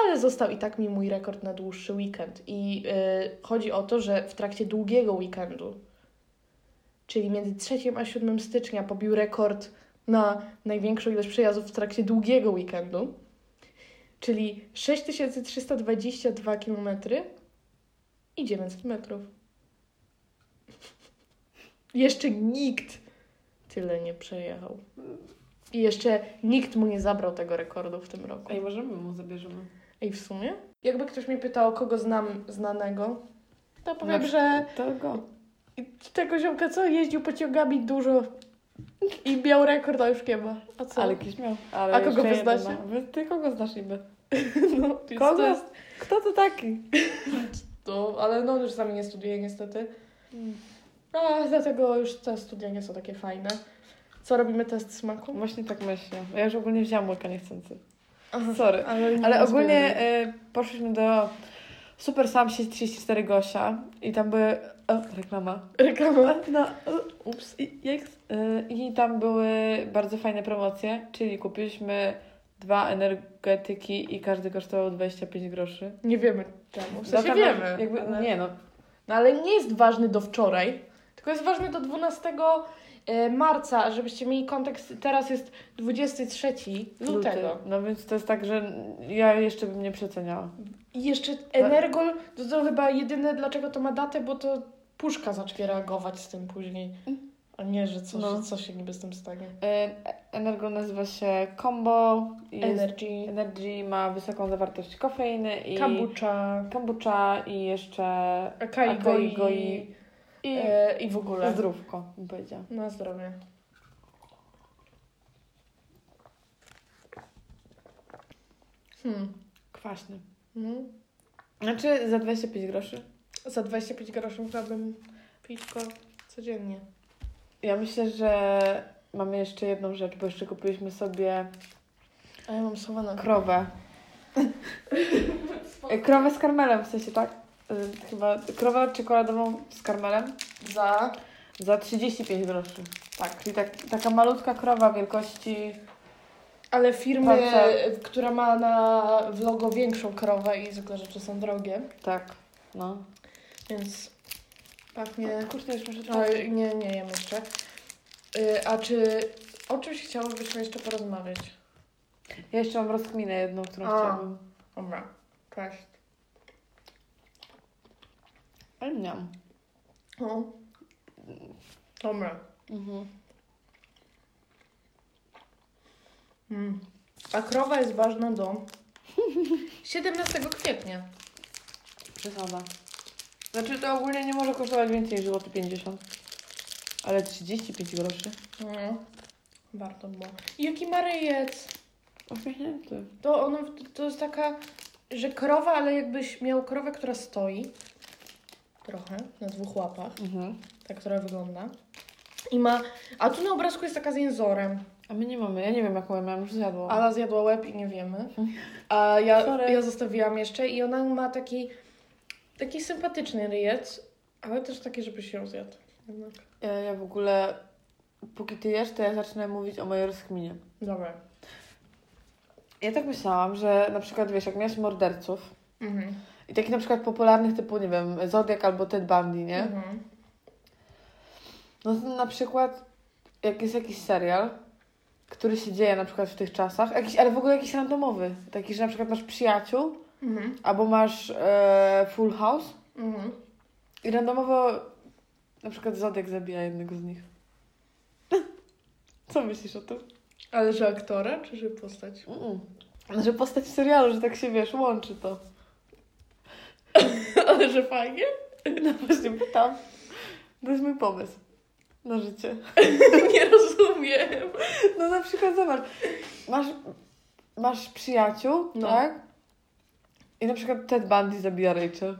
Speaker 2: ale został i tak mi mój rekord na dłuższy weekend. I y, chodzi o to, że w trakcie długiego weekendu, czyli między 3 a 7 stycznia, pobił rekord na największą ilość przejazdów w trakcie długiego weekendu, czyli 6322 km i 900 metrów. Jeszcze nikt tyle nie przejechał. I jeszcze nikt mu nie zabrał tego rekordu w tym roku.
Speaker 1: Ej, możemy mu zabierzemy.
Speaker 2: Ej, w sumie? Jakby ktoś mnie pytał, kogo znam znanego, to powiem,
Speaker 1: Na-
Speaker 2: że
Speaker 1: To go.
Speaker 2: tego ziomka, co jeździł pociągami dużo i miał rekord, a już nie ma. A co?
Speaker 1: Ale jakiś miał. Ale
Speaker 2: A kogo
Speaker 1: jeszcze
Speaker 2: wy
Speaker 1: jeden
Speaker 2: znacie?
Speaker 1: ma. Wy- Ty kogo znasz niby?
Speaker 2: no,
Speaker 1: Kogo?
Speaker 2: to no. jest
Speaker 1: Kto to taki?
Speaker 2: to, ale no już sami nie studiuję niestety. Hmm. A, No, dlatego już te studia nie są takie fajne. Co robimy test smaku?
Speaker 1: Właśnie tak myślę. Ja już ogólnie wzięłam łyka niechcący.
Speaker 2: Aha,
Speaker 1: Sorry.
Speaker 2: Ale,
Speaker 1: Ale ogólnie y, poszliśmy do Super Sam Sieć 34 Gosia i tam były... O, reklama.
Speaker 2: Reklama.
Speaker 1: No, ups. I, jak, y, I tam były bardzo fajne promocje, czyli kupiliśmy dwa energetyki i każdy kosztował 25 groszy.
Speaker 2: Nie wiemy czemu. W
Speaker 1: No
Speaker 2: sensie
Speaker 1: tam
Speaker 2: wiemy.
Speaker 1: Jakby,
Speaker 2: ale...
Speaker 1: Nie no,
Speaker 2: No ale nie jest ważny do wczoraj, tylko jest ważny do 12 e, marca, żebyście mieli kontekst. Teraz jest 23 lutego.
Speaker 1: luty. No więc to jest tak, że ja jeszcze bym nie przeceniała.
Speaker 2: I jeszcze Energol, to, to chyba jedyne dlaczego to ma datę, bo to puszka zacznie reagować z tym później. A nie, że co,
Speaker 1: No.
Speaker 2: że co się niby z tym stanie.
Speaker 1: Y, Energo nazywa się Combo. i Jest,
Speaker 2: Energy,
Speaker 1: Energy ma wysoką zawartość kofeiny i
Speaker 2: kombucha,
Speaker 1: kombucha i jeszcze
Speaker 2: acai
Speaker 1: acai
Speaker 2: goi,
Speaker 1: goi i
Speaker 2: e, i w ogóle.
Speaker 1: zdrówko, bym powiedziała.
Speaker 2: Na zdrowie. Hmm.
Speaker 1: Kwaśny.
Speaker 2: No.
Speaker 1: Znaczy za 25 groszy.
Speaker 2: Za 25 groszy chciałabym pićko codziennie.
Speaker 1: Ja myślę, że mamy jeszcze jedną rzecz, bo jeszcze kupiliśmy sobie
Speaker 2: A ja mam schowane.
Speaker 1: krowę. E, Krowę z karmelem, w sensie tak? Y, Chyba krowę czekoladową z karmelem
Speaker 2: Za.
Speaker 1: za 35 groszy.
Speaker 2: Tak.
Speaker 1: Czyli tak, taka malutka krowa wielkości.
Speaker 2: Ale firmy,
Speaker 1: Palca.
Speaker 2: która ma na vlogo większą krowę i zwykle rzeczy są drogie,
Speaker 1: Tak, no.
Speaker 2: więc pachnie...
Speaker 1: Kurczę, już muszę
Speaker 2: No,
Speaker 1: trochę.
Speaker 2: nie, nie jem jeszcze. Y, A czy... O czymś chciałabyśmy jeszcze porozmawiać?
Speaker 1: Ja jeszcze mam rozkminę jedną, którą
Speaker 2: A.
Speaker 1: chciałabym.
Speaker 2: Dobra, cześć.
Speaker 1: Ale nie mam.
Speaker 2: O. Dobra.
Speaker 1: Mhm.
Speaker 2: Mm. A krowa jest ważna do 17 kwietnia.
Speaker 1: Przesada. Znaczy to ogólnie nie może kosztować więcej niż złoty 50. Ale 35 groszy.
Speaker 2: No, warto było. I Jaki ma rejec?
Speaker 1: Ośmiechnięty.
Speaker 2: To, ono, to jest taka, że krowa, ale jakbyś miał krowę, która stoi trochę na dwóch łapach,
Speaker 1: Mhm.
Speaker 2: ta, która wygląda. I ma, a tu na obrazku jest taka z jęzorem.
Speaker 1: A my nie mamy, ja nie wiem jaką ja miałam, już zjadłam.
Speaker 2: Ala zjadła łeb i nie wiemy. A ja,
Speaker 1: Sorry.
Speaker 2: ja zostawiłam jeszcze i ona ma taki, taki sympatyczny ryjec, ale też taki, żeby się zjadł. Jednak.
Speaker 1: Ja, ja w ogóle, póki ty jesz, to ja zacznę mówić o mojej rozkminie.
Speaker 2: Dobra.
Speaker 1: Ja tak myślałam, że na przykład, wiesz, jak miałeś morderców
Speaker 2: Mhm.
Speaker 1: i takich na przykład popularnych typu, nie wiem, Zodiak albo Ted Bundy, nie?
Speaker 2: Mhm.
Speaker 1: No to na przykład, jak jest jakiś serial, który się dzieje na przykład w tych czasach, jakiś, ale w ogóle jakiś randomowy, taki, że na przykład masz przyjaciół
Speaker 2: Mhm.
Speaker 1: albo masz e, Full House
Speaker 2: Mhm.
Speaker 1: i randomowo na przykład Zodiak zabija jednego z nich. Co myślisz o tym?
Speaker 2: Ale że aktora, czy że postać?
Speaker 1: Mm. Że postać w serialu, że tak się wiesz, łączy to.
Speaker 2: Ale że fajnie.
Speaker 1: No właśnie pytam. To jest mój pomysł na życie.
Speaker 2: Nie rozumiem.
Speaker 1: No na przykład zobacz, masz, masz przyjaciół,
Speaker 2: No.
Speaker 1: tak? I na przykład Ted Bundy zabija Rachel.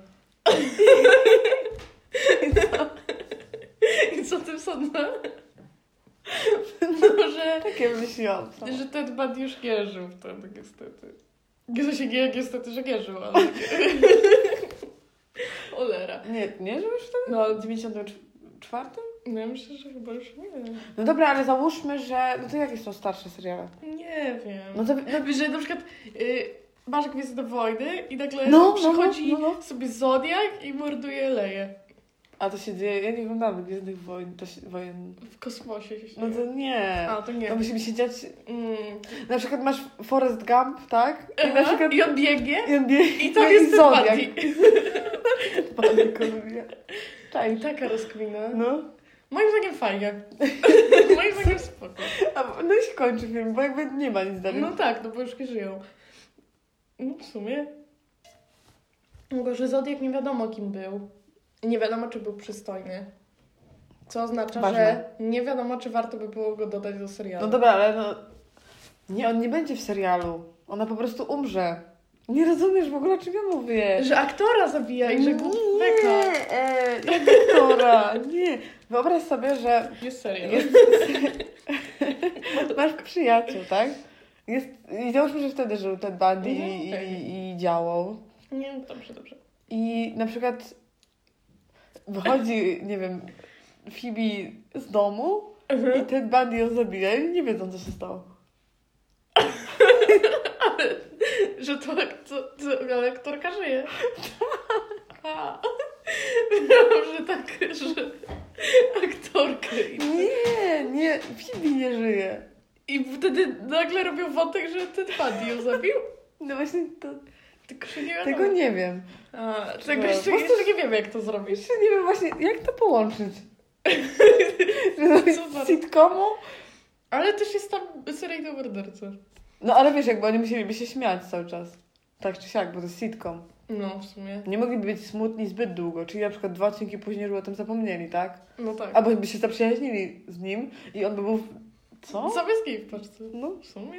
Speaker 2: I co o tym sądzę? No, że,
Speaker 1: Takie myślałam. sama.
Speaker 2: że ten band już nie żył wtedy, tak niestety. Nie, że się nie, niestety, że nie żył, ale... Olera.
Speaker 1: Nie, nie, że już w tym?
Speaker 2: No,
Speaker 1: W 94?
Speaker 2: no ja myślę, że chyba już nie.
Speaker 1: No dobra, ale załóżmy, że... No to jakie są starsze seriale?
Speaker 2: Nie wiem.
Speaker 1: No to... No,
Speaker 2: Że na przykład y, masz Gwiezdę Wojny i nagle
Speaker 1: No, no,
Speaker 2: przychodzi
Speaker 1: no, no.
Speaker 2: sobie Zodiak i morduje Leję.
Speaker 1: A to się dzieje, ja nie oglądam Gwiezdnych Wojen, to się, wojen.
Speaker 2: W kosmosie się
Speaker 1: No to
Speaker 2: dzieje.
Speaker 1: nie. No
Speaker 2: A, to nie.
Speaker 1: To musi mi się dziać,
Speaker 2: Mm.
Speaker 1: na przykład masz Forrest Gump, tak? I na
Speaker 2: Aha,
Speaker 1: przykład...
Speaker 2: I on biegnie
Speaker 1: I, on bie-
Speaker 2: i
Speaker 1: no
Speaker 2: tam jest
Speaker 1: Zodiak.
Speaker 2: sympatii.
Speaker 1: Panie Kolumbia. Cześć.
Speaker 2: Taka rozkmina.
Speaker 1: No.
Speaker 2: Moim zdaniem fajnie. Moim zdaniem spoko.
Speaker 1: A, no i się kończy film, bo jakby nie ma nic dalej.
Speaker 2: No tak, no bo już nie żyją. No w sumie. Tylko, że Zodiak nie wiadomo kim był. I Nie wiadomo, czy był przystojny. Co oznacza,
Speaker 1: Ważne.
Speaker 2: że nie wiadomo, czy warto by było go dodać do serialu.
Speaker 1: No dobra, ale no... Nie, on nie będzie w serialu. Ona po prostu umrze. Nie rozumiesz w ogóle, o czym ja mówię.
Speaker 2: Że aktora zabija i że głupeka.
Speaker 1: Nie, e, nie doktora, nie. Wyobraź sobie, że
Speaker 2: Jest serial.
Speaker 1: jest, masz przyjaciół, tak? Jest, I załóżmy, że wtedy żył Ted Bundy i, i, i działał.
Speaker 2: Nie, no dobrze, dobrze.
Speaker 1: I na przykład wychodzi, nie wiem, Phoebe z domu i Ted Bundy ją zabija i nie wiedzą, co się stało.
Speaker 2: Że to, to, to ale aktorka żyje. A. że tak, że aktorka. I,
Speaker 1: Nie, nie, Phoebe nie żyje.
Speaker 2: I wtedy nagle robią wątek, że ten Buddy ją zabił.
Speaker 1: No właśnie, to,
Speaker 2: Tylko się nie wiadomo.
Speaker 1: tego nie wiem.
Speaker 2: A, tego
Speaker 1: No,
Speaker 2: jeszcze,
Speaker 1: po prostu-
Speaker 2: jeszcze nie wiemy, jak to zrobić.
Speaker 1: Jeszcze nie wiem właśnie, jak to połączyć. Że zrobić
Speaker 2: Super.
Speaker 1: sitcomu?
Speaker 2: Ale też jest tam seryjny morderca.
Speaker 1: No ale wiesz, jakby oni musieliby się śmiać cały czas. Tak czy siak, bo to jest sitcom.
Speaker 2: No, w sumie.
Speaker 1: Nie mogliby być smutni zbyt długo, czyli na przykład dwa odcinki później już o tym zapomnieli, tak?
Speaker 2: No tak.
Speaker 1: Albo by się zaprzyjaźnili z nim i on by był... w- Co?
Speaker 2: Zamiast jej w paczce.
Speaker 1: No,
Speaker 2: W sumie.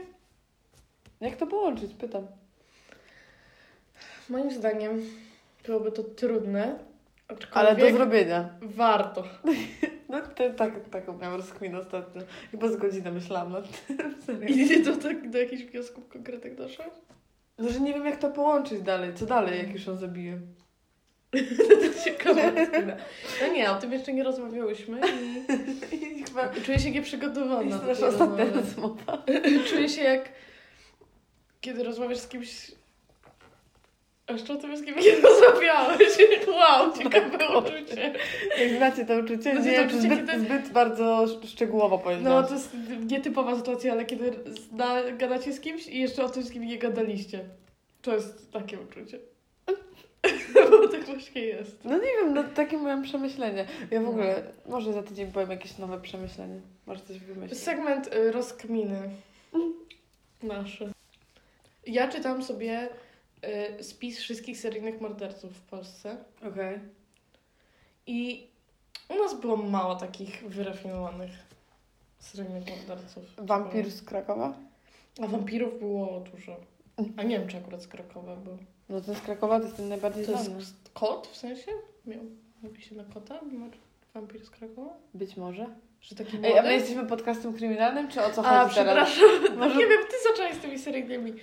Speaker 1: jak to połączyć? Pytam.
Speaker 2: Moim zdaniem byłoby to trudne,
Speaker 1: Ale
Speaker 2: aczkolwiek
Speaker 1: do zrobienia.
Speaker 2: warto.
Speaker 1: No to tak, taką miałam rozkminę ostatnio. Chyba z godzinę myślałam nad tym. Serio.
Speaker 2: I do, tak, do jakichś wniosków konkretnych doszłam?
Speaker 1: Znaczy nie wiem, jak to połączyć dalej. Co dalej, jak już on zabije?
Speaker 2: To ciekawe. No nie, o tym jeszcze nie rozmawiałyśmy i
Speaker 1: I chyba...
Speaker 2: czuję się nieprzygotowana.
Speaker 1: To jest
Speaker 2: do no, tej
Speaker 1: nasza ostatnia
Speaker 2: rozmowy.
Speaker 1: rozmowa.
Speaker 2: Czuję się jak kiedy rozmawiasz z kimś. A jeszcze o tym jest z kimś nie rozmawiałeś. Wow, ciekawe uczucie.
Speaker 1: Jak znacie to uczucie,
Speaker 2: Znacie
Speaker 1: nie,
Speaker 2: to
Speaker 1: Znaczy, to
Speaker 2: uczucie,
Speaker 1: zbyt,
Speaker 2: kiedy-
Speaker 1: zbyt bardzo sz- szczegółowo powiedziałam.
Speaker 2: No to jest nietypowa sytuacja, ale kiedy zna, gadacie z kimś i jeszcze o tym z kim nie gadaliście. To jest takie uczucie. Bo tak właśnie jest.
Speaker 1: No nie wiem, no takie miałam przemyślenie. Ja
Speaker 2: No.
Speaker 1: w ogóle, może za tydzień powiem jakieś nowe przemyślenie. Może coś wymyślić.
Speaker 2: Segment y, rozkminy. Nasze. Ja czytam sobie y, spis wszystkich seryjnych morderców w Polsce.
Speaker 1: Okej.
Speaker 2: I u nas było mało takich wyrafinowanych seryjnych morderców.
Speaker 1: Wampir z Krakowa?
Speaker 2: A wampirów było dużo. A nie wiem, czy akurat z Krakowa był.
Speaker 1: No ten z Krakowa to jest ten najbardziej
Speaker 2: To
Speaker 1: znany.
Speaker 2: jest kot w sensie? Miał mówi się na kota? Mar- Wampir z Krakowa?
Speaker 1: Być może.
Speaker 2: Że taki młody?
Speaker 1: Ej, a my jesteśmy podcastem kryminalnym, czy o co chodzi
Speaker 2: A,
Speaker 1: teraz?
Speaker 2: przepraszam.
Speaker 1: Może-
Speaker 2: Nie wiem, ty zaczęłaś z tymi seryjnymi.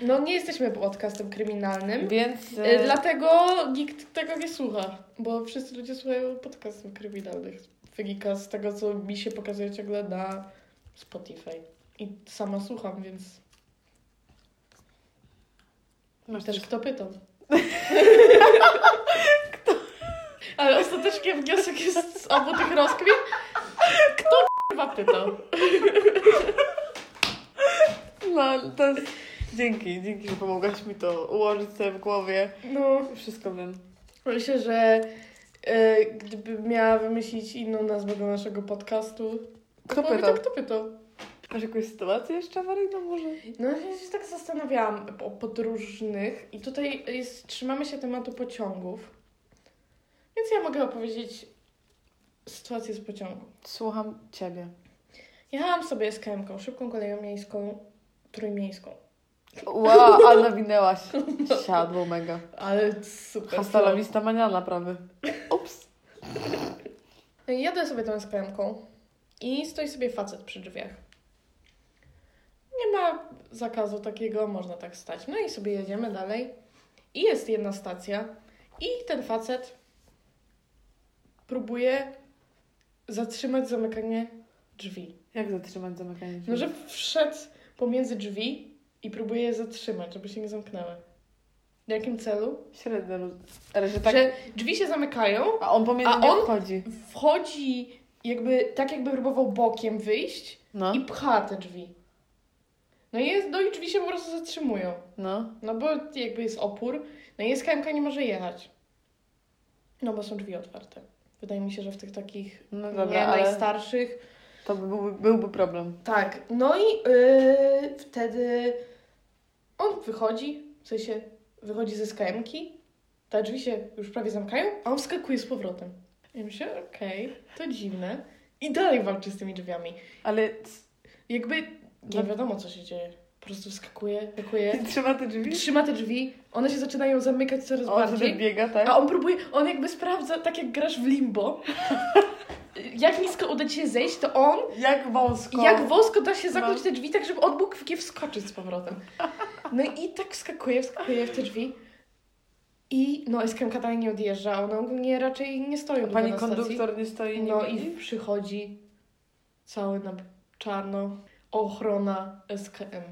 Speaker 2: No nie jesteśmy podcastem kryminalnym.
Speaker 1: Więc...
Speaker 2: Y,
Speaker 1: E,
Speaker 2: Dlatego nikt tego nie słucha, bo wszyscy ludzie słuchają podcastów kryminalnych. Wynika z tego, co mi się pokazuje ciągle na Spotify. I sama słucham, więc
Speaker 1: Masz
Speaker 2: też
Speaker 1: też...
Speaker 2: kto pytał. Ale ostatecznie wniosek jest z obu tych rozkmin. Kto k***wa pytał?
Speaker 1: No, to jest... Dzięki, dzięki, że pomogłaś mi to ułożyć sobie w głowie.
Speaker 2: No,
Speaker 1: Wszystko wiem.
Speaker 2: myślę, że y, gdybym miała wymyślić inną nazwę do naszego podcastu,
Speaker 1: Kto
Speaker 2: byłoby
Speaker 1: pytał?
Speaker 2: To tak, kto pytał?
Speaker 1: Masz jakąś sytuację jeszcze awaryjną może?
Speaker 2: No ja się tak zastanawiałam o podróżnych i tutaj jest, trzymamy się tematu pociągów. Więc ja mogę opowiedzieć sytuację z pociągu.
Speaker 1: Słucham ciebie.
Speaker 2: Jechałam sobie z KM-ką, szybką koleją miejską, trójmiejską.
Speaker 1: Wow, ale nawinęłaś. Siadło mega.
Speaker 2: Ale super.
Speaker 1: Hasta la vista maniana prawie. Ups.
Speaker 2: No i jadę sobie tą skremką i stoi sobie facet przy drzwiach. Nie ma zakazu takiego, można tak stać. No i sobie jedziemy dalej. I jest jedna stacja i ten facet próbuje zatrzymać zamykanie drzwi.
Speaker 1: Jak zatrzymać zamykanie drzwi?
Speaker 2: No, że wszedł pomiędzy drzwi i próbuję je zatrzymać, żeby się nie zamknęły. W jakim celu?
Speaker 1: Średnio. luz- Ale że tak.
Speaker 2: Że drzwi się zamykają,
Speaker 1: A on pomiędzy
Speaker 2: A
Speaker 1: nie
Speaker 2: on?
Speaker 1: wchodzi.
Speaker 2: wchodzi jakby, tak jakby próbował bokiem wyjść
Speaker 1: No,
Speaker 2: i pcha te drzwi. No i, jest, no i drzwi się po prostu zatrzymują.
Speaker 1: no.
Speaker 2: No bo jakby jest opór, no i SKMK nie może jechać. No bo są drzwi otwarte. Wydaje mi się, że w tych takich
Speaker 1: No
Speaker 2: nie
Speaker 1: dobra, ale
Speaker 2: najstarszych
Speaker 1: to by byłby, byłby problem.
Speaker 2: Tak, no i yy, wtedy on wychodzi, w sensie wychodzi ze skajemki, te drzwi się już prawie zamykają, a on wskakuje z powrotem. I myślę, okej, to dziwne. I dalej walczy z tymi drzwiami.
Speaker 1: Ale
Speaker 2: Jakby
Speaker 1: Dla-
Speaker 2: nie wiadomo, co się dzieje. Po prostu wskakuje, wskakuje,
Speaker 1: trzyma te drzwi?
Speaker 2: trzyma te drzwi, one się zaczynają zamykać coraz
Speaker 1: On wtedy
Speaker 2: bardziej.
Speaker 1: biega, tak?
Speaker 2: A on próbuje, on jakby sprawdza, tak jak grasz w limbo, jak nisko uda ci się zejść, to on
Speaker 1: Jak wąsko.
Speaker 2: i jak wosko da się zamknąć
Speaker 1: No.
Speaker 2: te drzwi, tak żeby on mógł w nie wskoczyć z powrotem. No i tak wskakuje, wskakuje w te drzwi. I no, SKMK dalej nie odjeżdża, one ogólnie raczej nie stoją
Speaker 1: A
Speaker 2: długo
Speaker 1: pani
Speaker 2: na stacji.
Speaker 1: konduktor nie stoi, nie
Speaker 2: No i
Speaker 1: widzi?
Speaker 2: przychodzi cały na czarno ochrona SKM.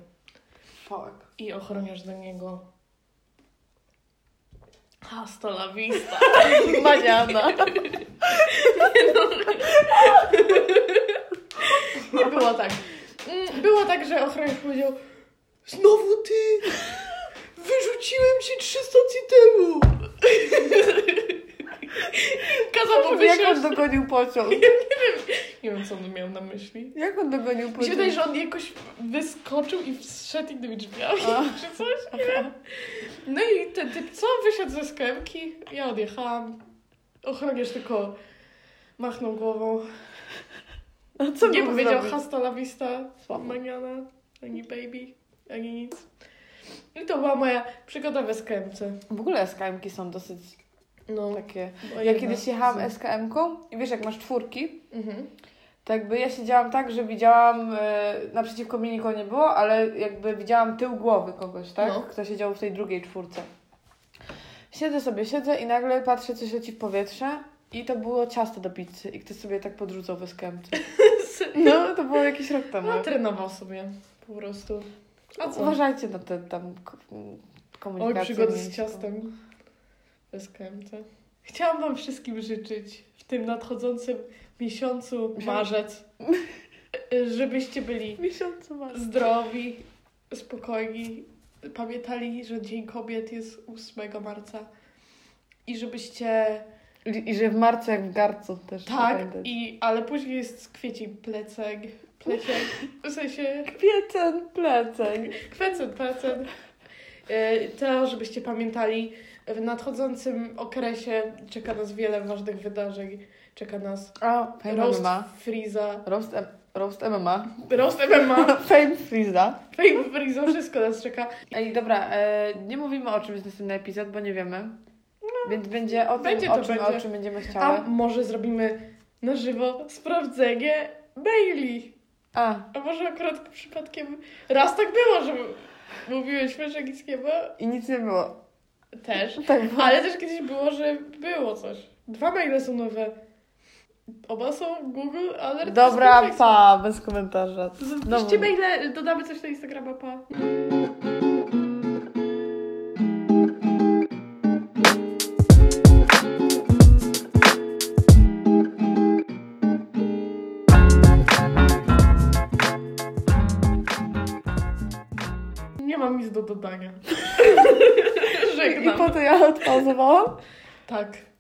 Speaker 1: Fuck.
Speaker 2: I ochroniarz do niego. Hasta la vista.
Speaker 1: Maniana.
Speaker 2: Nie było tak. Mm, Było tak, że ochroniarz powiedział Znowu ty! Wyrzuciłem cię trzy stacje temu! Kazał mu
Speaker 1: Jak
Speaker 2: wysiąść.
Speaker 1: on dogonił pociąg?
Speaker 2: Nie wiem, co on miał na myśli.
Speaker 1: Jak on dogonił
Speaker 2: Mi się
Speaker 1: pociąg?
Speaker 2: wydaje, że on jakoś wyskoczył i wszedł innymi drzwiami,
Speaker 1: A.
Speaker 2: czy coś, nie wiem. No i ten typ, co? Wysiadł ze sklepki, ja odjechałam. Ochroniarz tylko machnął głową.
Speaker 1: No, co
Speaker 2: nie
Speaker 1: mógł
Speaker 2: powiedział
Speaker 1: zrobić?
Speaker 2: hasta la vista,
Speaker 1: Słabo.
Speaker 2: maniana, ani baby, ani nic. I to była moja przygoda w SKM-ce.
Speaker 1: W ogóle SKM-ki są dosyć
Speaker 2: No,
Speaker 1: takie...
Speaker 2: bo
Speaker 1: Tak, Ja
Speaker 2: jedna
Speaker 1: kiedyś jechałam
Speaker 2: z-
Speaker 1: SKM-ką i wiesz, jak masz czwórki,
Speaker 2: Mhm.
Speaker 1: to jakby ja siedziałam tak, że widziałam, e, naprzeciwko mnie nikogo nie było, ale jakby widziałam tył głowy kogoś, tak?
Speaker 2: No.
Speaker 1: Kto siedział w tej drugiej czwórce. Siedzę sobie, siedzę i nagle patrzę, coś leci w powietrze i to było ciasto do pizzy i ktoś sobie tak podrzucał w SKM-ce. No, to było jakiś rok temu.
Speaker 2: No, trenował sobie po prostu. A co?
Speaker 1: Uważajcie na te tam ko-
Speaker 2: Oj,
Speaker 1: komunikacje.
Speaker 2: przygody z
Speaker 1: miejską.
Speaker 2: ciastem w SKM-ce. Chciałam Wam wszystkim życzyć w tym nadchodzącym miesiącu
Speaker 1: Miesiąc-
Speaker 2: marzec, żebyście byli
Speaker 1: Miesiącu masz.
Speaker 2: zdrowi, spokojni, pamiętali, że Dzień Kobiet jest 8 marca i żebyście
Speaker 1: I, I że w marcu jak w garcu też.
Speaker 2: tak,
Speaker 1: pamiętać.
Speaker 2: i, ale później jest kwiecień plecek, pleciek, w sensie
Speaker 1: Kwiecen, pleceń.
Speaker 2: kwecen, plecen. E, To, żebyście pamiętali, w nadchodzącym okresie czeka nas wiele ważnych wydarzeń. Czeka nas
Speaker 1: A, fame
Speaker 2: roast
Speaker 1: MMA.
Speaker 2: Freeza,
Speaker 1: Roast, M- roast MMA.
Speaker 2: roast MMA,
Speaker 1: fame Freeza.
Speaker 2: Fame Freeza, wszystko nas czeka.
Speaker 1: Ej, dobra, e, nie mówimy o czym jest następny epizod, bo nie wiemy. Więc No, będzie o tym,
Speaker 2: Będzie
Speaker 1: o,
Speaker 2: to
Speaker 1: czym,
Speaker 2: będzie.
Speaker 1: o czym będziemy
Speaker 2: A
Speaker 1: chciały.
Speaker 2: może zrobimy na żywo sprawdzenie Bailey.
Speaker 1: A,
Speaker 2: A może akurat przypadkiem raz tak było, że mówiłyśmy, że nic nie było.
Speaker 1: i nic nie było.
Speaker 2: Też.
Speaker 1: Tak było.
Speaker 2: Ale też kiedyś było, że było coś. Dwa maile są nowe. Oba są Google Alert.
Speaker 1: Dobra,
Speaker 2: Bezpieczeństwo.
Speaker 1: pa, bez komentarza.
Speaker 2: Piszcie maile, dodamy coś na Instagrama, pa. Nie mam nic do dodania.
Speaker 1: I
Speaker 2: Żegnam.
Speaker 1: po to ja odpauzowałam.
Speaker 2: Tak.